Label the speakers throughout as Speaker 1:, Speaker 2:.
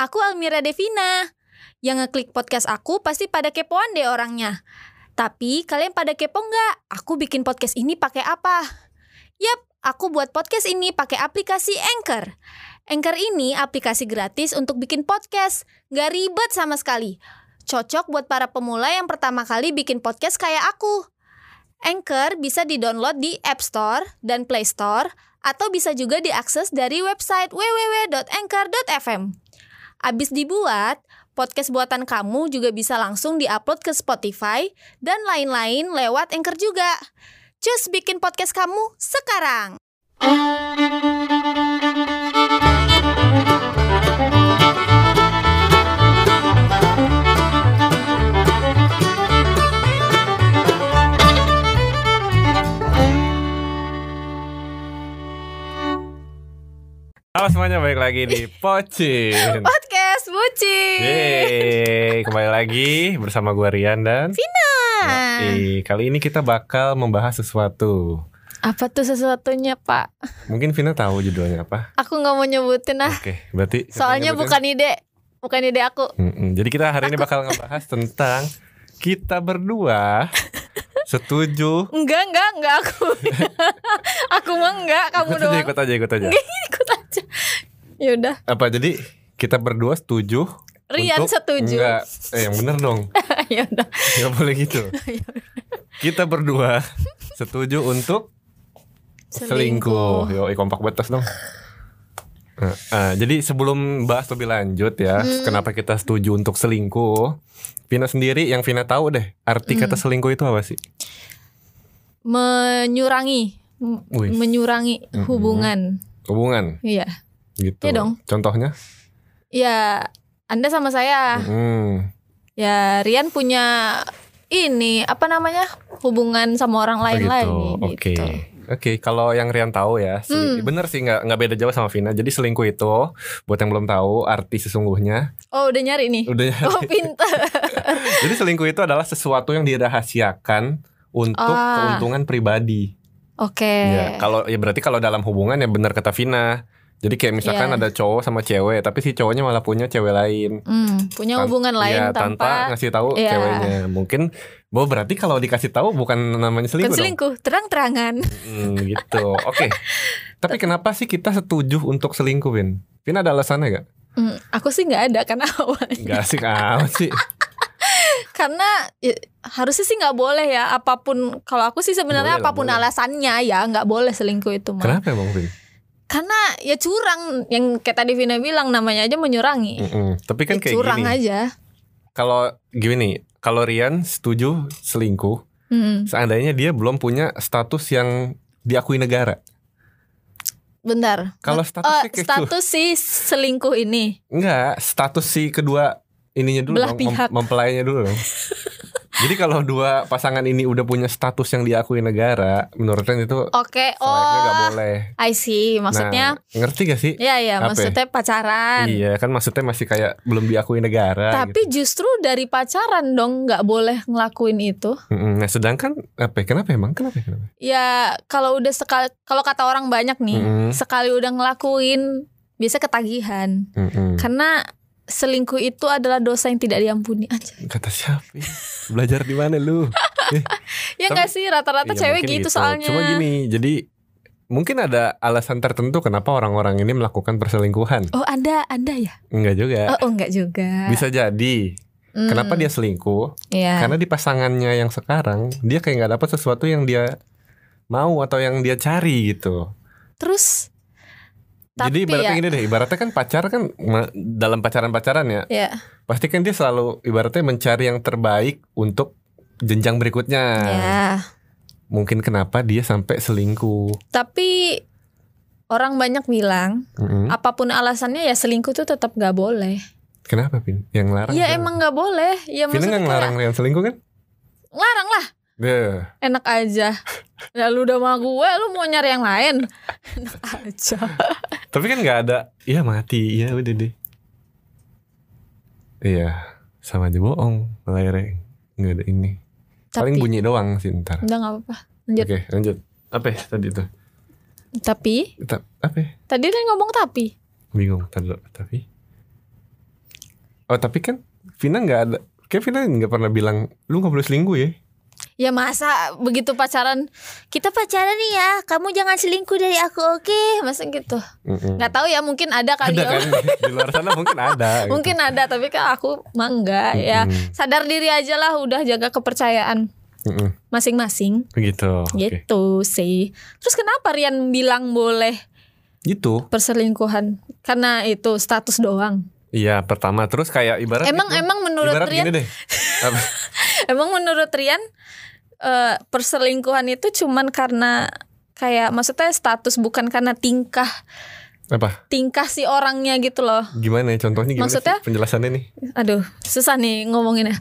Speaker 1: Aku Almira Devina. Yang ngeklik podcast aku pasti pada kepoan deh orangnya. Tapi kalian pada kepo nggak? Aku bikin podcast ini pakai apa? Yap, aku buat podcast ini pakai aplikasi Anchor. Anchor ini aplikasi gratis untuk bikin podcast. Nggak ribet sama sekali. Cocok buat para pemula yang pertama kali bikin podcast kayak aku. Anchor bisa didownload di App Store dan Play Store atau bisa juga diakses dari website www.anchor.fm. Abis dibuat, podcast buatan kamu juga bisa langsung diupload ke Spotify dan lain-lain lewat Anchor juga. Cus bikin podcast kamu sekarang.
Speaker 2: Halo semuanya, balik lagi di Pocin
Speaker 1: Podcast Bucin.
Speaker 2: Yeay, kembali lagi bersama gue Rian dan
Speaker 1: Nah.
Speaker 2: Yoi. Kali ini kita bakal membahas sesuatu
Speaker 1: Apa tuh sesuatunya, Pak?
Speaker 2: Mungkin Vina tahu judulnya apa
Speaker 1: Aku nggak mau nyebutin ah.
Speaker 2: Oke, berarti
Speaker 1: Soalnya
Speaker 2: nyebutin-
Speaker 1: bukan ide. Bukan ide aku.
Speaker 2: Mm-mm. Jadi kita hari ini bakal ngebahas tentang kita berdua setuju
Speaker 1: Enggak, enggak, enggak aku. aku mah enggak, kamu
Speaker 2: Ikut aja,
Speaker 1: doang.
Speaker 2: ikut aja, ikut aja
Speaker 1: Ikut aja. Ya Yaudah.
Speaker 2: Apa, jadi kita berdua setuju
Speaker 1: Rian
Speaker 2: untuk-
Speaker 1: setuju.
Speaker 2: Enggak, eh yang bener dong
Speaker 1: Yaudah.
Speaker 2: Gak boleh gitu.
Speaker 1: Iya,
Speaker 2: Kita berdua setuju untuk selingkuh. Yo, kompak batas dong. Eh, eh, jadi sebelum bahas lebih lanjut ya,
Speaker 1: Hmm.
Speaker 2: kenapa kita setuju untuk selingkuh? Vina sendiri yang Vina tahu deh, arti kata
Speaker 1: Hmm.
Speaker 2: selingkuh itu apa sih?
Speaker 1: Menyurangi. M-
Speaker 2: Wih.
Speaker 1: Menyurangi
Speaker 2: Mm-mm.
Speaker 1: hubungan.
Speaker 2: Hubungan
Speaker 1: Iya.
Speaker 2: gitu.
Speaker 1: Iya dong.
Speaker 2: Contohnya?
Speaker 1: Ya, Anda sama saya.
Speaker 2: Hmm,
Speaker 1: Ya, Rian punya ini apa namanya? hubungan sama orang lain
Speaker 2: begitu.
Speaker 1: lagi
Speaker 2: Oh Oke.
Speaker 1: gitu.
Speaker 2: Oke, kalau yang Rian tahu ya, seli-
Speaker 1: Hmm.
Speaker 2: bener sih nggak nggak beda jauh sama Vina. Jadi selingkuh itu, buat yang belum tahu arti sesungguhnya,
Speaker 1: Oh, udah nyari nih.
Speaker 2: udah ya.
Speaker 1: Oh, pintar.
Speaker 2: Jadi selingkuh itu adalah sesuatu yang dirahasiakan untuk
Speaker 1: Ah.
Speaker 2: keuntungan pribadi.
Speaker 1: Oke.
Speaker 2: Ya, kalau ya berarti kalau dalam hubungan ya benar kata Vina. Jadi kayak misalkan
Speaker 1: Iya.
Speaker 2: ada cowok sama cewek, tapi si cowoknya malah punya cewek lain.
Speaker 1: Hmm, punya
Speaker 2: Tan-
Speaker 1: hubungan lain
Speaker 2: Iya, tanpa
Speaker 1: tanpa,
Speaker 2: ngasih tahu
Speaker 1: Iya.
Speaker 2: ceweknya. Mungkin bahwa berarti kalau dikasih tahu bukan namanya
Speaker 1: bukan
Speaker 2: selingkuh dong.
Speaker 1: selingkuh, terang-terangan.
Speaker 2: Hmm, gitu. Oke. Tapi kenapa sih kita setuju untuk selingkuh, Vin? Vina ada alasannya gak?
Speaker 1: Hmm, aku sih nggak ada karena awalnya.
Speaker 2: Gak asik amat sih.
Speaker 1: karena ya, harusnya sih nggak boleh ya apapun kalau aku sih sebenarnya
Speaker 2: Boleh lah,
Speaker 1: apapun
Speaker 2: boleh.
Speaker 1: alasannya ya nggak boleh selingkuh itu mah
Speaker 2: Kenapa emang, Vin?
Speaker 1: karena ya curang yang kayak tadi Vina bilang namanya aja menyurangi
Speaker 2: Mm-mm. Tapi kan
Speaker 1: Ya,
Speaker 2: kayak
Speaker 1: curang
Speaker 2: gini.
Speaker 1: aja
Speaker 2: kalau gini kalau Rian setuju selingkuh
Speaker 1: Mm-mm.
Speaker 2: seandainya dia belum punya status yang diakui negara
Speaker 1: bentar
Speaker 2: kalau
Speaker 1: Eh,
Speaker 2: statusnya kayak gitu. cu-
Speaker 1: status si selingkuh ini
Speaker 2: enggak status si kedua ininya dulu
Speaker 1: Belah
Speaker 2: dong mem-
Speaker 1: pihak.
Speaker 2: mempelainya dulu dong jadi kalau dua pasangan ini udah punya status yang diakui negara menurut Rian itu
Speaker 1: oke
Speaker 2: selayaknya nggak
Speaker 1: oh
Speaker 2: boleh
Speaker 1: I see maksudnya
Speaker 2: nah, ngerti gak sih
Speaker 1: ya ya
Speaker 2: apa ya?
Speaker 1: maksudnya pacaran
Speaker 2: Iya kan maksudnya masih kayak belum diakui negara gitu.
Speaker 1: tapi justru dari pacaran dong nggak boleh ngelakuin itu
Speaker 2: gitu. Mm-mm. Nah sedangkan apa ya? Kenapa emang? Kenapa? kenapa?
Speaker 1: ya kalau udah sekali kalau kata orang banyak nih
Speaker 2: Mm-mm.
Speaker 1: sekali udah ngelakuin biasa ketagihan
Speaker 2: Mm-mm.
Speaker 1: karena selingkuh itu adalah dosa yang tidak diampuni aja
Speaker 2: Kata siapa? ya? Belajar di mana lu?
Speaker 1: ya
Speaker 2: Tapi-
Speaker 1: nggak sih rata-rata
Speaker 2: Iya,
Speaker 1: cewek
Speaker 2: mungkin
Speaker 1: gitu, soalnya
Speaker 2: Cuma gini, jadi mungkin ada alasan tertentu kenapa orang-orang ini melakukan perselingkuhan.
Speaker 1: oh ada ada ya
Speaker 2: Enggak
Speaker 1: oh,
Speaker 2: juga.
Speaker 1: oh nggak juga
Speaker 2: Eh, Bisa jadi.
Speaker 1: Hmm,
Speaker 2: Kenapa dia selingkuh?
Speaker 1: iya.
Speaker 2: Karena di pasangannya yang sekarang dia kayak nggak dapat sesuatu yang dia mau atau yang dia cari gitu.
Speaker 1: terus
Speaker 2: jadi
Speaker 1: tapi
Speaker 2: ibaratnya
Speaker 1: ya
Speaker 2: gini deh, ibaratnya kan pacar kan ma- dalam pacaran-pacaran ya,
Speaker 1: ya
Speaker 2: pasti kan dia selalu ibaratnya mencari yang terbaik untuk jenjang berikutnya.
Speaker 1: ya
Speaker 2: Ah. Mungkin kenapa dia sampai selingkuh.
Speaker 1: tapi orang banyak bilang
Speaker 2: Mm-mm.
Speaker 1: apapun alasannya ya selingkuh tuh tetap nggak boleh
Speaker 2: Kenapa, Pin? Yang larang.
Speaker 1: ya
Speaker 2: siapa?
Speaker 1: emang nggak boleh ya
Speaker 2: Vina
Speaker 1: maksudnya
Speaker 2: nggak ngelarang
Speaker 1: kayak,
Speaker 2: Rian selingkuh kan? Ya.
Speaker 1: larang lah
Speaker 2: Deh.
Speaker 1: enak aja lalu udah sama gue lu mau nyari yang lain enak aja
Speaker 2: Tapi kan nggak ada. Iya mati. Iya udah deh. Iya. Sama aja bohong. Layarnya nggak ada ini. Paling
Speaker 1: tapi
Speaker 2: bunyi doang sih ntar.
Speaker 1: udah nggak apa-apa
Speaker 2: Oke
Speaker 1: lanjut
Speaker 2: lanjut. Apa ya tadi itu?
Speaker 1: tapi
Speaker 2: Ta- apa ya?
Speaker 1: tadi kan ngomong tapi
Speaker 2: Bingung. Tadi dulu. Tapi. Oh tapi kan Vina nggak ada. Kayak Vina nggak pernah bilang lu nggak boleh selingkuh ya.
Speaker 1: Ya masa begitu pacaran kita pacaran nih ya, kamu jangan selingkuh dari aku, oke? Masa gitu.
Speaker 2: Mm-mm.
Speaker 1: Nggak tahu ya, mungkin ada kali
Speaker 2: ada
Speaker 1: ya.
Speaker 2: kan di luar sana mungkin ada. gitu.
Speaker 1: Mungkin ada, tapi kan aku mah enggak
Speaker 2: Hmm,
Speaker 1: ya.
Speaker 2: Mm-mm.
Speaker 1: Sadar diri aja lah udah jaga kepercayaan
Speaker 2: Mm-mm.
Speaker 1: masing-masing
Speaker 2: Gitu. oke.
Speaker 1: gitu sih. Terus kenapa Rian bilang boleh
Speaker 2: Gitu.
Speaker 1: perselingkuhan? Karena itu status doang.
Speaker 2: Iya pertama terus kayak ibarat.
Speaker 1: Emang
Speaker 2: gitu.
Speaker 1: emang menurut
Speaker 2: ibarat
Speaker 1: Rian
Speaker 2: gini deh. Apa?
Speaker 1: Emang menurut Rian eh, perselingkuhan itu cuman karena kayak maksudnya status bukan karena tingkah
Speaker 2: Apa?
Speaker 1: tingkah si orangnya gitu loh.
Speaker 2: Gimana ya contohnya gimana
Speaker 1: Maksudnya?
Speaker 2: sih penjelasannya nih?
Speaker 1: Aduh, susah nih ngomonginnya.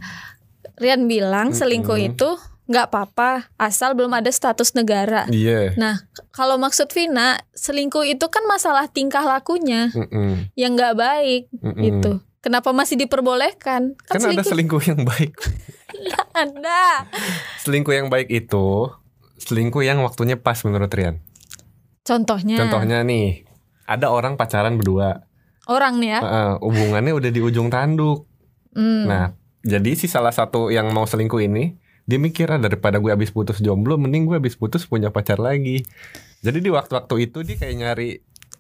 Speaker 1: Rian bilang selingkuh
Speaker 2: Mm-mm.
Speaker 1: itu nggak apa-apa asal belum ada status negara.
Speaker 2: Iya.
Speaker 1: Nah, k- kalau maksud Vina, selingkuh itu kan masalah tingkah lakunya
Speaker 2: Mm-mm.
Speaker 1: yang nggak baik
Speaker 2: Mm-mm.
Speaker 1: gitu. Kenapa masih diperbolehkan? Kan,
Speaker 2: Kan Hmm. ada
Speaker 1: selingkuh
Speaker 2: selingkuh yang baik.
Speaker 1: ada.
Speaker 2: Selingkuh yang baik itu selingkuh yang waktunya pas menurut Rian.
Speaker 1: Contohnya,
Speaker 2: Contohnya nih, ada orang pacaran berdua,
Speaker 1: orang nih ya.
Speaker 2: Heeh, hubungannya udah di ujung tanduk.
Speaker 1: Hmm.
Speaker 2: Nah, jadi si salah satu yang mau selingkuh ini dia mikir "Ah, daripada gue habis putus jomblo, mending gue habis putus punya pacar lagi. Jadi di waktu-waktu itu dia kayak nyari,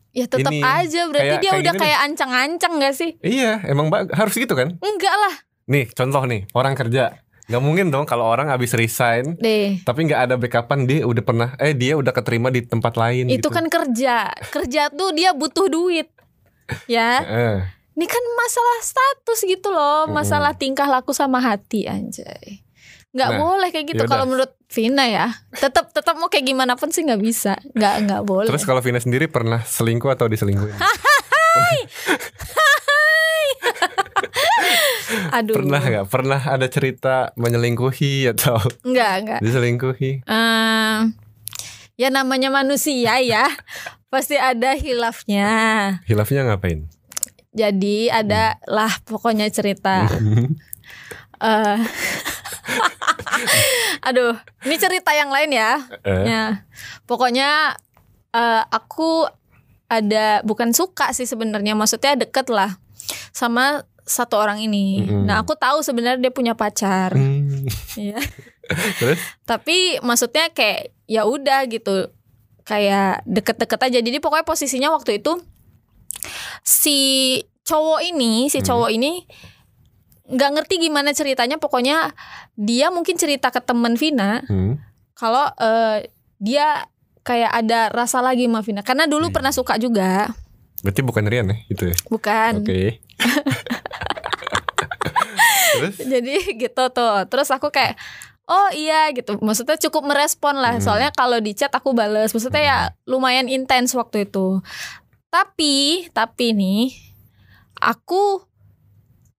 Speaker 1: Ya tetap
Speaker 2: Ini,
Speaker 1: aja berarti
Speaker 2: kayak-
Speaker 1: dia
Speaker 2: kayak
Speaker 1: udah
Speaker 2: gini
Speaker 1: kayak ancang-ancang gak sih?
Speaker 2: iya emang ba- harus gitu kan?
Speaker 1: Enggak lah
Speaker 2: Nih contoh nih orang kerja, nggak mungkin dong kalau orang habis resign
Speaker 1: deh.
Speaker 2: tapi nggak ada backupan dia udah pernah eh dia udah keterima di tempat lain
Speaker 1: Itu
Speaker 2: gitu.
Speaker 1: kan kerja. Kerja tuh dia butuh duit. Ya.
Speaker 2: Heeh.
Speaker 1: Ini kan masalah status gitu loh,
Speaker 2: Mm-mm.
Speaker 1: masalah tingkah laku sama hati anjay. Nggak
Speaker 2: Nah,
Speaker 1: boleh kayak gitu
Speaker 2: yaudah.
Speaker 1: kalau menurut Vina ya. Tetap tetap mau kayak gimana pun sih nggak bisa. Nggak nggak boleh.
Speaker 2: Terus kalau Vina sendiri pernah selingkuh atau diselingkuhin?
Speaker 1: Aduh.
Speaker 2: pernah nggak? Pernah ada cerita menyelingkuhi atau
Speaker 1: Nggak, nggak.
Speaker 2: diselingkuhi?
Speaker 1: Ehm, ya namanya manusia ya. Pasti ada hilafnya.
Speaker 2: Hilafnya ngapain?
Speaker 1: Jadi ada lah pokoknya cerita.
Speaker 2: Mm.
Speaker 1: eh Aduh, ini cerita yang lain ya.
Speaker 2: Eh,
Speaker 1: Ya. Pokoknya eh, aku ada bukan suka sih sebenarnya, maksudnya deket lah sama satu orang ini.
Speaker 2: Mm-mm.
Speaker 1: Nah, aku tahu sebenarnya dia punya pacar.
Speaker 2: hmm,
Speaker 1: Iya.
Speaker 2: Terus?
Speaker 1: Tapi maksudnya kayak ya udah gitu. Kayak deket-deket aja. Jadi pokoknya posisinya waktu itu si cowok ini, si
Speaker 2: Hmm.
Speaker 1: cowok ini nggak ngerti gimana ceritanya. Pokoknya dia mungkin cerita ke temen Vina
Speaker 2: hmm,
Speaker 1: kalau eh, dia kayak ada rasa lagi sama Vina. Karena dulu
Speaker 2: Hmm.
Speaker 1: pernah suka juga,
Speaker 2: berarti bukan Rian ya itu ya?
Speaker 1: bukan?
Speaker 2: Oke. Terus?
Speaker 1: Jadi gitu tuh. Terus aku kayak oh iya gitu. Maksudnya cukup merespon lah.
Speaker 2: Hmm.
Speaker 1: Soalnya kalau di chat aku bales. Maksudnya ya lumayan intens waktu itu. Tapi tapi nih aku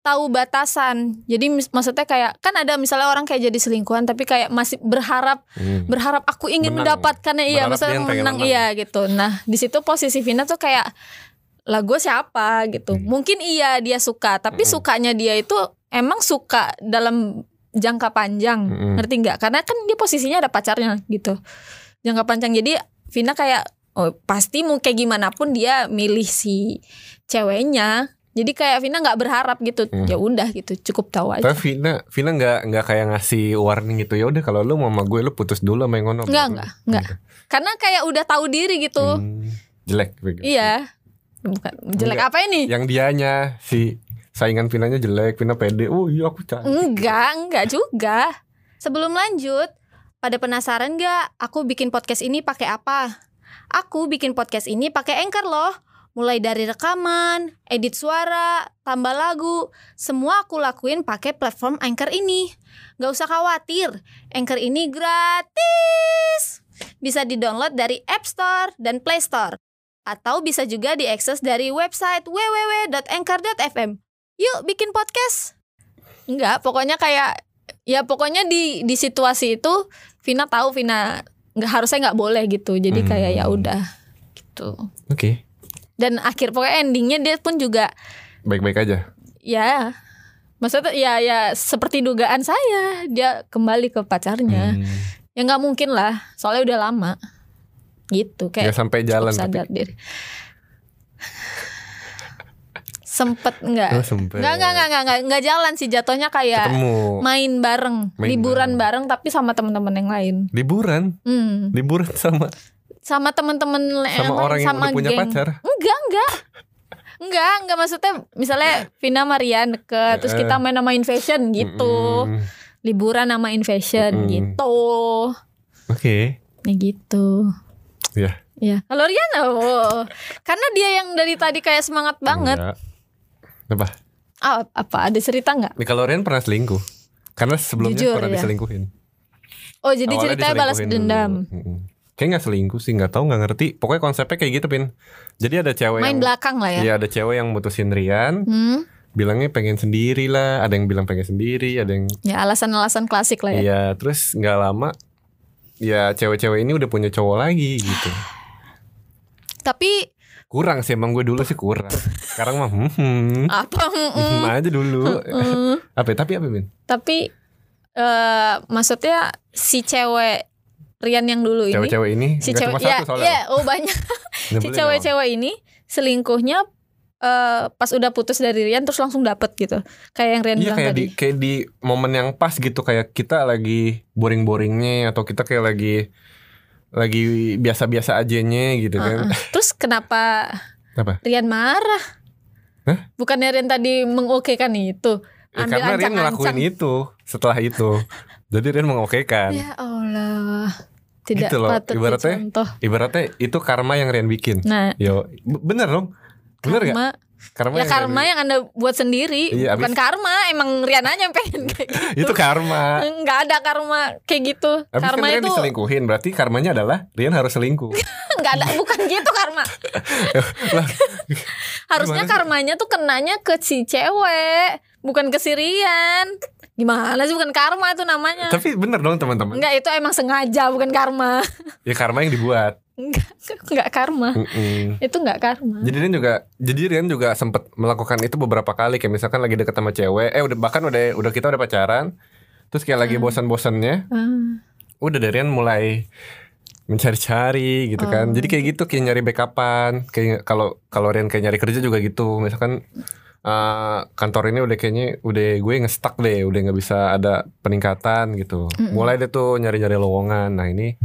Speaker 1: tahu batasan. Jadi mis- maksudnya kayak kan ada misalnya orang kayak jadi selingkuhan tapi kayak masih berharap
Speaker 2: Hmm.
Speaker 1: berharap aku ingin
Speaker 2: Menang.
Speaker 1: mendapatkannya iya
Speaker 2: Berharap dia
Speaker 1: maksudnya
Speaker 2: yang pengen
Speaker 1: menang
Speaker 2: menang.
Speaker 1: iya gitu. Nah, di situ posisi Vina tuh kayak lah gue siapa gitu.
Speaker 2: Hmm.
Speaker 1: Mungkin iya dia suka, tapi
Speaker 2: Mm-mm.
Speaker 1: sukanya dia itu emang suka dalam jangka panjang.
Speaker 2: Mm-mm.
Speaker 1: Ngerti nggak? Karena kan dia posisinya ada pacarnya gitu. Jangka panjang. Jadi Vina kayak oh, pasti mau kayak gimana pun dia milih si ceweknya. Jadi kayak Vina nggak berharap gitu.
Speaker 2: Hmm.
Speaker 1: Ya udah gitu, cukup tahu aja.
Speaker 2: Tapi Vina, Vina nggak nggak kayak ngasih warning gitu ya udah kalau lu mau sama gue lu putus dulu sama yang ngono.
Speaker 1: Nggak, nggak, nggak. Karena kayak udah tahu diri gitu.
Speaker 2: Hmm, jelek.
Speaker 1: Iya. Bukan jelek
Speaker 2: Enggak. Ya.
Speaker 1: apa ini?
Speaker 2: yang dianya si saingan Vinanya jelek, Vina pede. Oh iya aku cantik.
Speaker 1: Enggak, enggak juga. Sebelum lanjut, pada penasaran nggak aku bikin podcast ini pakai apa? Aku bikin podcast ini pakai Anchor loh. Mulai dari rekaman, edit suara, tambah lagu, semua aku lakuin pakai platform Anchor ini. Gak usah khawatir, Anchor ini gratis. Bisa di-download dari App Store dan Play Store. Atau bisa juga diakses dari website www.anchor.fm. Yuk bikin podcast! Enggak, pokoknya kayak ya pokoknya di di situasi itu Vina tahu Vina nggak harusnya nggak boleh gitu. Jadi
Speaker 2: Hmm.
Speaker 1: kayak ya udah gitu.
Speaker 2: Oke,
Speaker 1: Dan akhir pokoknya endingnya dia pun juga
Speaker 2: baik-baik aja.
Speaker 1: ya maksudnya ya ya seperti dugaan saya dia kembali ke pacarnya.
Speaker 2: Hmm.
Speaker 1: Ya nggak mungkin lah, soalnya udah lama. Gitu
Speaker 2: Nggak
Speaker 1: kayak
Speaker 2: sampai
Speaker 1: cukup
Speaker 2: jalan tapi
Speaker 1: sadar diri. sempet nggak
Speaker 2: Oh, sempet.
Speaker 1: nggak nggak nggak nggak nggak nggak jalan sih jatuhnya kayak
Speaker 2: Ketemu.
Speaker 1: main bareng
Speaker 2: Main
Speaker 1: liburan bareng. tapi sama teman-teman yang lain
Speaker 2: Liburan,
Speaker 1: hmm.
Speaker 2: liburan sama
Speaker 1: sama teman-teman yang
Speaker 2: sama
Speaker 1: lain,
Speaker 2: orang yang
Speaker 1: sama
Speaker 2: udah punya
Speaker 1: geng.
Speaker 2: pacar.
Speaker 1: enggak enggak enggak enggak maksudnya misalnya Vina Marian deket terus kita main sama Fashion gitu
Speaker 2: Eh. Mm-mm.
Speaker 1: liburan sama Fashion
Speaker 2: Mm-mm.
Speaker 1: gitu
Speaker 2: Oke.
Speaker 1: ya gitu
Speaker 2: Iya.
Speaker 1: ya kalau Rian oh. karena dia yang dari tadi kayak semangat
Speaker 2: Iya.
Speaker 1: banget
Speaker 2: Enggak. Apa?
Speaker 1: Ah, apa ada cerita nggak
Speaker 2: Nih kalau Rian pernah selingkuh. Karena sebelumnya
Speaker 1: Jujur, ya.
Speaker 2: pernah diselingkuhin.
Speaker 1: oh jadi
Speaker 2: Awalnya
Speaker 1: ceritanya balas
Speaker 2: diselingkuhin
Speaker 1: dendam
Speaker 2: dulu. Mm-mm. Kayaknya nggak selingkuh sih, nggak tahu nggak ngerti. Pokoknya konsepnya kayak gitu, Pin. Jadi ada cewek
Speaker 1: main
Speaker 2: yang
Speaker 1: belakang lah ya,
Speaker 2: Iya, ada cewek yang mutusin Rian,
Speaker 1: Hmm,
Speaker 2: bilangnya pengen sendiri lah, ada yang bilang pengen sendiri, ada yang
Speaker 1: ya alasan-alasan klasik lah ya
Speaker 2: Iya, terus nggak lama ya cewek-cewek ini udah punya cowok lagi gitu.
Speaker 1: tapi
Speaker 2: Kurang sih emang gue dulu sih kurang. Sekarang mah hmm, hmm,
Speaker 1: apa
Speaker 2: hmm
Speaker 1: mm,
Speaker 2: aja dulu.
Speaker 1: mm.
Speaker 2: apa ya? tapi apa Min?
Speaker 1: tapi eh maksudnya si cewek Rian yang dulu ini
Speaker 2: Cewek-cewek ini
Speaker 1: si
Speaker 2: nggak
Speaker 1: cewek
Speaker 2: cuma
Speaker 1: ya
Speaker 2: satu soalnya.
Speaker 1: ya oh banyak si
Speaker 2: Nyebelin dong.
Speaker 1: cewek-cewek ini selingkuhnya eh pas udah putus dari Rian terus langsung dapet gitu kayak yang Rian
Speaker 2: Iya
Speaker 1: bilang
Speaker 2: kayak
Speaker 1: tadi
Speaker 2: di kayak di momen yang pas gitu kayak kita lagi boring-boringnya atau kita kayak lagi lagi biasa-biasa ajanya gitu kan.
Speaker 1: Heeh. terus kenapa
Speaker 2: Apa?
Speaker 1: Rian marah bukannya Rian tadi mengokekan itu
Speaker 2: Ya,
Speaker 1: ambil
Speaker 2: karena Rian ngelakuin
Speaker 1: ancang-ancang
Speaker 2: itu setelah itu. Jadi Rian mengokekan.
Speaker 1: ya Allah tidak
Speaker 2: Gitu loh,
Speaker 1: patut
Speaker 2: ibaratnya.
Speaker 1: dicontoh
Speaker 2: Ibaratnya itu karma yang Rian bikin.
Speaker 1: nah
Speaker 2: Yo, b- bener dong. Bener gak?
Speaker 1: karma
Speaker 2: Karma
Speaker 1: ya
Speaker 2: yang
Speaker 1: karma
Speaker 2: Rian
Speaker 1: yang anda buat sendiri
Speaker 2: Iya,
Speaker 1: bukan
Speaker 2: abis-
Speaker 1: karma emang Rian aja yang pengen kayak
Speaker 2: bikin.
Speaker 1: gitu
Speaker 2: Itu karma.
Speaker 1: nggak ada karma kayak gitu
Speaker 2: Habis
Speaker 1: karma
Speaker 2: Nah. kan Rian
Speaker 1: itu Iya.
Speaker 2: diselingkuhin, berarti karmanya adalah Rian harus selingkuh.
Speaker 1: nggak ada bukan gitu karma
Speaker 2: Lah,
Speaker 1: harusnya
Speaker 2: Gimana sih?
Speaker 1: karmanya tuh kenanya ke si cewek bukan ke si Rian gimana sih bukan karma itu namanya
Speaker 2: tapi bener dong teman-teman.
Speaker 1: Enggak itu emang sengaja bukan karma
Speaker 2: Ya karma yang dibuat.
Speaker 1: Enggak enggak karma
Speaker 2: Mm-mm.
Speaker 1: itu enggak karma
Speaker 2: Jadi Rian juga, jadi Rian juga sempat melakukan itu beberapa kali kayak misalkan lagi deket sama cewek, eh udah bahkan udah udah kita udah pacaran, terus kayak lagi bosan-bosannya,
Speaker 1: Ah,
Speaker 2: udah dari Rian mulai mencari-cari
Speaker 1: Oh,
Speaker 2: gitu kan. Jadi kayak gitu kayak nyari backupan. Kayak kalau kalau Rian kayak nyari kerja juga gitu. Misalkan eh, kantor ini udah kayaknya udah gue ngestak deh, udah nggak bisa ada peningkatan gitu. Mulai deh tuh nyari-nyari lowongan. Nah, ini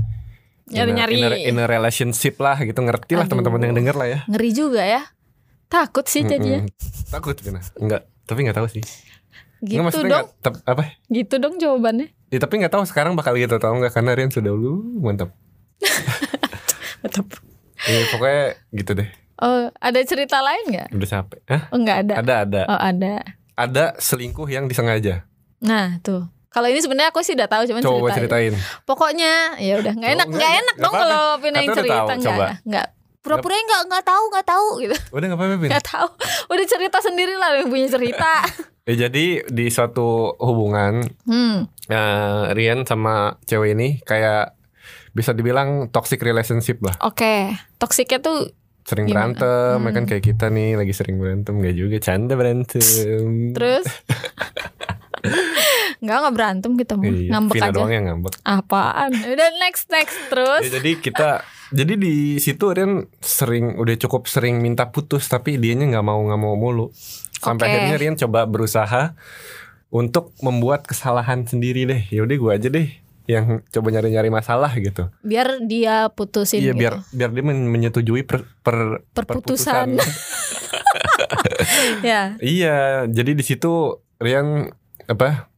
Speaker 2: in a-
Speaker 1: Nyari-nyari.
Speaker 2: in a- in a relationship lah gitu. Ngerti lah
Speaker 1: Aduh.
Speaker 2: teman-teman yang denger lah ya.
Speaker 1: ngeri juga ya takut sih jadinya
Speaker 2: Mm-mm. Takut Vina. Enggak, tapi nggak tahu sih.
Speaker 1: gitu
Speaker 2: Nggak, maksudnya
Speaker 1: dong
Speaker 2: nggak- tep- apa?
Speaker 1: gitu dong jawabannya
Speaker 2: Ya, tapi nggak tahu sekarang bakal gitu atau nggak karena Rian sudah lu mantap.
Speaker 1: Tetep.
Speaker 2: Eh, pokoknya gitu deh.
Speaker 1: oh ada cerita lain nggak
Speaker 2: Udah capek. Hah?
Speaker 1: oh nggak ada
Speaker 2: Ada ada.
Speaker 1: oh ada
Speaker 2: Ada selingkuh yang disengaja.
Speaker 1: Nah tuh. Kalau ini sebenarnya aku sih udah tahu cuman
Speaker 2: Coba
Speaker 1: ceritain.
Speaker 2: ceritain.
Speaker 1: Pokoknya ya udah nggak
Speaker 2: Coba,
Speaker 1: enak nggak
Speaker 2: nggak,
Speaker 1: enak
Speaker 2: nggak
Speaker 1: dong
Speaker 2: apa-apa.
Speaker 1: kalau Vina yang
Speaker 2: Katanya udah
Speaker 1: cerita
Speaker 2: tahu,
Speaker 1: nggak
Speaker 2: coba.
Speaker 1: nggak pura-pura nggak nggak tahu nggak tahu gitu
Speaker 2: Udah nggak apa-apa, Pin.
Speaker 1: nggak tahu udah cerita sendiri lah yang punya cerita
Speaker 2: Ya, jadi di suatu hubungan
Speaker 1: hmm
Speaker 2: eh, Rian sama cewek ini kayak bisa dibilang toxic relationship lah.
Speaker 1: oke toksiknya tuh
Speaker 2: Sering
Speaker 1: Gimana?
Speaker 2: berantem, ya
Speaker 1: Hmm.
Speaker 2: kan kayak kita nih lagi sering berantem nggak juga canda berantem.
Speaker 1: terus nggak nggak berantem gitu mah
Speaker 2: Iya,
Speaker 1: ngambek
Speaker 2: Vina
Speaker 1: aja
Speaker 2: doang yang ngambek.
Speaker 1: apaan udah next next terus
Speaker 2: Ya, jadi kita jadi di situ Rian sering udah cukup sering minta putus tapi dianya nggak mau nggak mau mulu. Sampai
Speaker 1: Oke.
Speaker 2: akhirnya Rian coba berusaha untuk membuat kesalahan sendiri deh. Yaudah gue aja deh yang coba nyari-nyari masalah gitu.
Speaker 1: biar dia putusin
Speaker 2: Iya
Speaker 1: gitu.
Speaker 2: biar biar dia men- menyetujui per, per-
Speaker 1: Perputusan. ya
Speaker 2: iya, jadi di situ Rian apa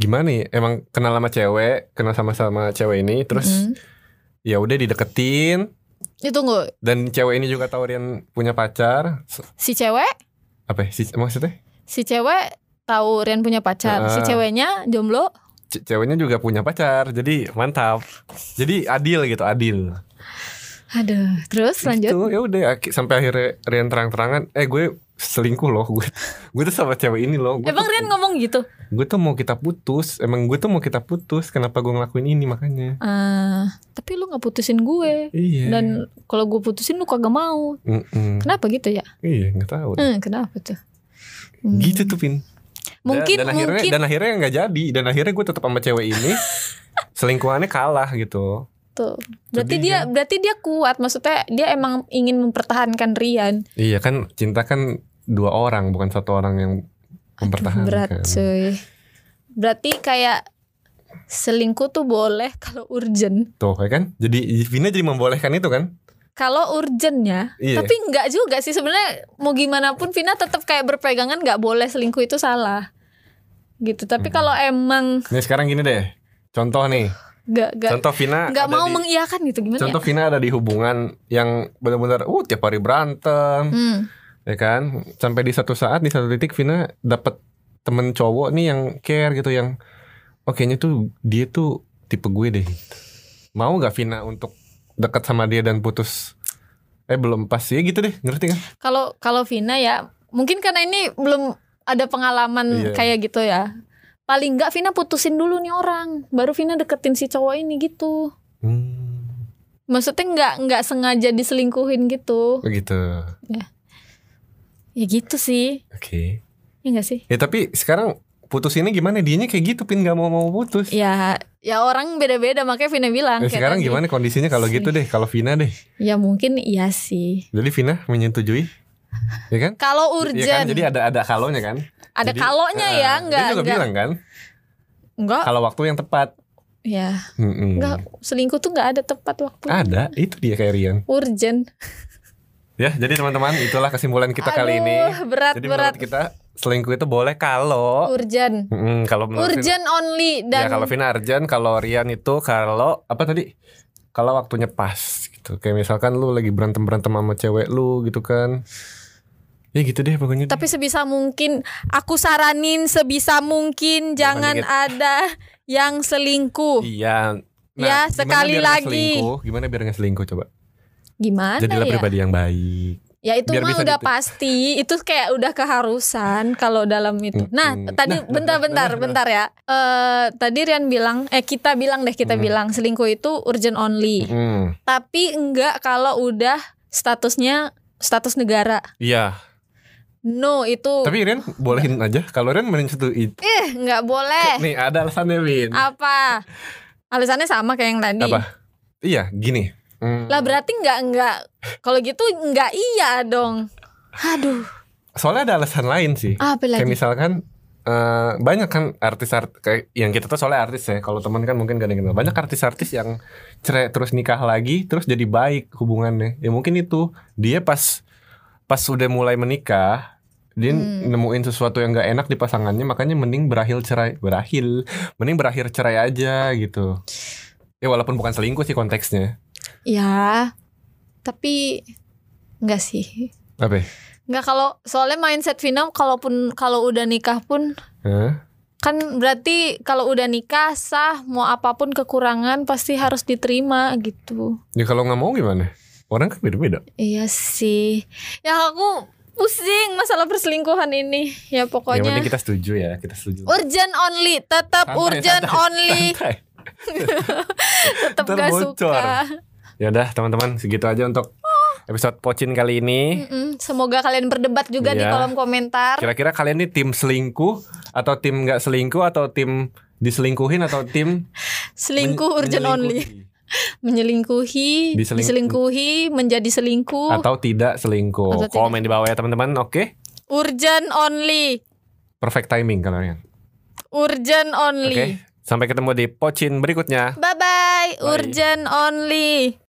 Speaker 2: gimana ya? Emang kenal sama cewek, kenal sama-sama cewek ini terus
Speaker 1: Mm.
Speaker 2: ya udah dideketin
Speaker 1: Ya, tunggu
Speaker 2: dan cewek ini juga tahu Rian punya pacar S-
Speaker 1: si cewek
Speaker 2: apa ya, si maksudnya
Speaker 1: si cewek tahu Rian punya pacar, si
Speaker 2: Ah.
Speaker 1: ceweknya jomblo.
Speaker 2: Ce- ceweknya juga punya pacar jadi mantap jadi adil gitu adil
Speaker 1: Aduh, terus lanjut.
Speaker 2: Gitu, ya udah aki- sampai akhirnya Rian terang-terangan eh gue selingkuh loh gue gue tuh sama cewek ini loh gue
Speaker 1: Emang
Speaker 2: tuh,
Speaker 1: Rian ngomong gitu?
Speaker 2: gue tuh mau kita putus emang gue tuh mau kita putus kenapa gue ngelakuin ini makanya
Speaker 1: Ah, tapi lu nggak putusin gue.
Speaker 2: iya
Speaker 1: Dan kalau gue putusin lu kagak mau.
Speaker 2: Mm-mm.
Speaker 1: Kenapa gitu ya?
Speaker 2: iya nggak tahu
Speaker 1: Hmm, kenapa tuh? Hmm.
Speaker 2: gitu tuh pin Dan-
Speaker 1: Mungkin
Speaker 2: dan, akhirnya
Speaker 1: mungkin
Speaker 2: dan akhirnya nggak jadi dan akhirnya gue tetap sama cewek ini selingkuhannya kalah gitu
Speaker 1: tuh. Berarti
Speaker 2: Sedih
Speaker 1: dia
Speaker 2: kan?
Speaker 1: berarti dia kuat. Maksudnya dia emang ingin mempertahankan Rian.
Speaker 2: Iya kan cinta kan dua orang bukan satu orang yang mempertahankan.
Speaker 1: Berat cuy. Berarti kayak selingkuh tuh boleh kalau urgent.
Speaker 2: Tuh ya kan? Jadi Vina jadi membolehkan itu kan?
Speaker 1: Kalau urgent ya,
Speaker 2: Iya.
Speaker 1: tapi nggak juga sih sebenarnya mau gimana pun Vina tetap kayak berpegangan nggak boleh selingkuh itu salah gitu. Tapi
Speaker 2: Hmm.
Speaker 1: kalau emang
Speaker 2: Nih sekarang gini deh. Contoh nih.
Speaker 1: nggak nggak
Speaker 2: Contoh Vina
Speaker 1: nggak
Speaker 2: ada
Speaker 1: mau
Speaker 2: di-
Speaker 1: mengiyakan gitu gimana?
Speaker 2: Contoh
Speaker 1: ya?
Speaker 2: Vina ada di hubungan yang benar-benar uh tiap hari berantem,
Speaker 1: Hmm.
Speaker 2: ya kan? Sampai di satu saat di satu titik Vina dapat temen cowok nih yang care gitu yang oh kayaknya tuh dia tuh tipe gue deh. gitu. Mau gak Vina untuk dekat sama dia dan putus? Eh belum pas ya gitu deh, ngerti kan?
Speaker 1: Kalau kalau Vina ya mungkin karena ini belum ada pengalaman
Speaker 2: Iya.
Speaker 1: kayak gitu ya. Paling nggak Vina putusin dulu nih orang, baru Vina deketin si cowok ini gitu.
Speaker 2: Hmm,
Speaker 1: Maksudnya nggak nggak sengaja diselingkuhin gitu.
Speaker 2: begitu.
Speaker 1: Ya gitu sih,
Speaker 2: Oke.
Speaker 1: ya nggak sih?
Speaker 2: Ya tapi sekarang putus ini gimana? Dianya kayak gitu pin nggak mau mau putus.
Speaker 1: Ya ya orang beda-beda makanya Vina bilang. kan
Speaker 2: Eh,
Speaker 1: kayak
Speaker 2: sekarang
Speaker 1: tadi.
Speaker 2: gimana kondisinya kalau gitu deh, kalau Vina deh.
Speaker 1: Ya mungkin iya sih.
Speaker 2: Jadi Vina menyetujui, ya kan?
Speaker 1: Kalau urgent,
Speaker 2: Iya kan? Jadi ada ada kalonya kan?
Speaker 1: ada
Speaker 2: Jadi,
Speaker 1: kalonya ya,
Speaker 2: eh,
Speaker 1: nggak
Speaker 2: Dia juga
Speaker 1: nggak
Speaker 2: bilang kan,
Speaker 1: nggak
Speaker 2: kalau waktu yang tepat.
Speaker 1: ya
Speaker 2: Mm-mm.
Speaker 1: nggak selingkuh tuh nggak ada tepat waktu.
Speaker 2: Ada, itu dia kayak Rian.
Speaker 1: Urgent.
Speaker 2: Ya, jadi teman-teman itulah kesimpulan kita kali ini.
Speaker 1: Aduh, berat
Speaker 2: Jadi
Speaker 1: berat.
Speaker 2: menurut kita selingkuh itu boleh kalau,
Speaker 1: Urgent.
Speaker 2: Mm-mm, kalau menurut Vina-
Speaker 1: urgent only dan
Speaker 2: ya kalau Vina Arjan, kalau Rian itu kalau apa tadi? Kalau waktunya pas gitu. Kayak misalkan lu lagi berantem-berantem sama cewek lu gitu kan. Ya gitu deh pokoknya.
Speaker 1: tapi sebisa mungkin aku saranin sebisa mungkin jangan
Speaker 2: dikit.
Speaker 1: ada yang selingkuh
Speaker 2: iya.
Speaker 1: Ya,
Speaker 2: gimana
Speaker 1: sekali
Speaker 2: biar nggak
Speaker 1: lagi.
Speaker 2: selingkuh? Gimana biar nggak selingkuh coba?
Speaker 1: gimana
Speaker 2: Jadilah
Speaker 1: ya
Speaker 2: pribadi yang baik.
Speaker 1: ya itu
Speaker 2: biar
Speaker 1: mah
Speaker 2: bisa
Speaker 1: udah
Speaker 2: gitu.
Speaker 1: pasti itu kayak udah keharusan kalau dalam itu
Speaker 2: Mm,
Speaker 1: nah
Speaker 2: mm.
Speaker 1: tadi
Speaker 2: Nah,
Speaker 1: bentar
Speaker 2: nah,
Speaker 1: bentar
Speaker 2: nah,
Speaker 1: bentar ya Eh tadi Rian bilang eh kita bilang deh kita
Speaker 2: Mm.
Speaker 1: bilang selingkuh itu urgent only
Speaker 2: Mm.
Speaker 1: tapi enggak kalau udah statusnya status negara
Speaker 2: Iya.
Speaker 1: no itu
Speaker 2: Tapi Rian bolehin aja. Kalau Rian menyetujui.
Speaker 1: eh nggak boleh
Speaker 2: Nih ada alasannya Win.
Speaker 1: apa alasannya sama kayak yang tadi
Speaker 2: Apa? Iya, gini. Mm.
Speaker 1: lah berarti nggak nggak kalau gitu nggak iya dong aduh
Speaker 2: Soalnya ada alasan lain sih.
Speaker 1: apa
Speaker 2: Kayak
Speaker 1: lagi
Speaker 2: misalkan eh, banyak kan artis artis kayak yang kita tuh soalnya artis ya. Kalau teman kan mungkin gak ada yang kenal. Banyak artis-artis yang cerai terus nikah lagi terus jadi baik hubungannya. Ya mungkin itu dia pas pas udah mulai menikah dia
Speaker 1: Hmm.
Speaker 2: nemuin sesuatu yang gak enak di pasangannya makanya mending berakhir cerai berakhir mending berakhir cerai aja gitu ya walaupun bukan selingkuh sih konteksnya
Speaker 1: ya tapi nggak sih
Speaker 2: apa ya?
Speaker 1: nggak kalau soalnya mindset Vina kalaupun kalau udah nikah pun
Speaker 2: Hah?
Speaker 1: kan berarti kalau udah nikah sah mau apapun kekurangan pasti harus diterima gitu
Speaker 2: ya kalau nggak mau gimana orang kan beda-beda
Speaker 1: iya sih ya aku pusing masalah perselingkuhan ini ya
Speaker 2: yang
Speaker 1: pokoknya
Speaker 2: penting kita setuju ya kita setuju
Speaker 1: urgent only tetap
Speaker 2: Santai,
Speaker 1: urgent
Speaker 2: santai,
Speaker 1: only
Speaker 2: santai.
Speaker 1: tetap
Speaker 2: Ntar
Speaker 1: gak
Speaker 2: bocor.
Speaker 1: suka
Speaker 2: Ya udah teman-teman segitu aja untuk
Speaker 1: Oh.
Speaker 2: episode pocin kali ini.
Speaker 1: Mm-mm, semoga kalian berdebat juga di
Speaker 2: Eh. Iya.
Speaker 1: kolom komentar.
Speaker 2: Kira-kira kalian ini tim selingkuh atau tim nggak selingkuh atau tim diselingkuhin atau tim
Speaker 1: Selingkuh
Speaker 2: men-
Speaker 1: urgent only,
Speaker 2: menyelingkuhi?
Speaker 1: menyelingkuhi,
Speaker 2: Diseling-
Speaker 1: diselingkuhi, menjadi selingkuh,
Speaker 2: atau tidak
Speaker 1: Atau
Speaker 2: selingkuh.
Speaker 1: tidak.
Speaker 2: Komen di bawah ya teman-teman. Oke.
Speaker 1: urgent only,
Speaker 2: Perfect timing kalian.
Speaker 1: urgent
Speaker 2: Oke.
Speaker 1: only.
Speaker 2: Sampai ketemu di pocin berikutnya.
Speaker 1: Bye bye, urgent only.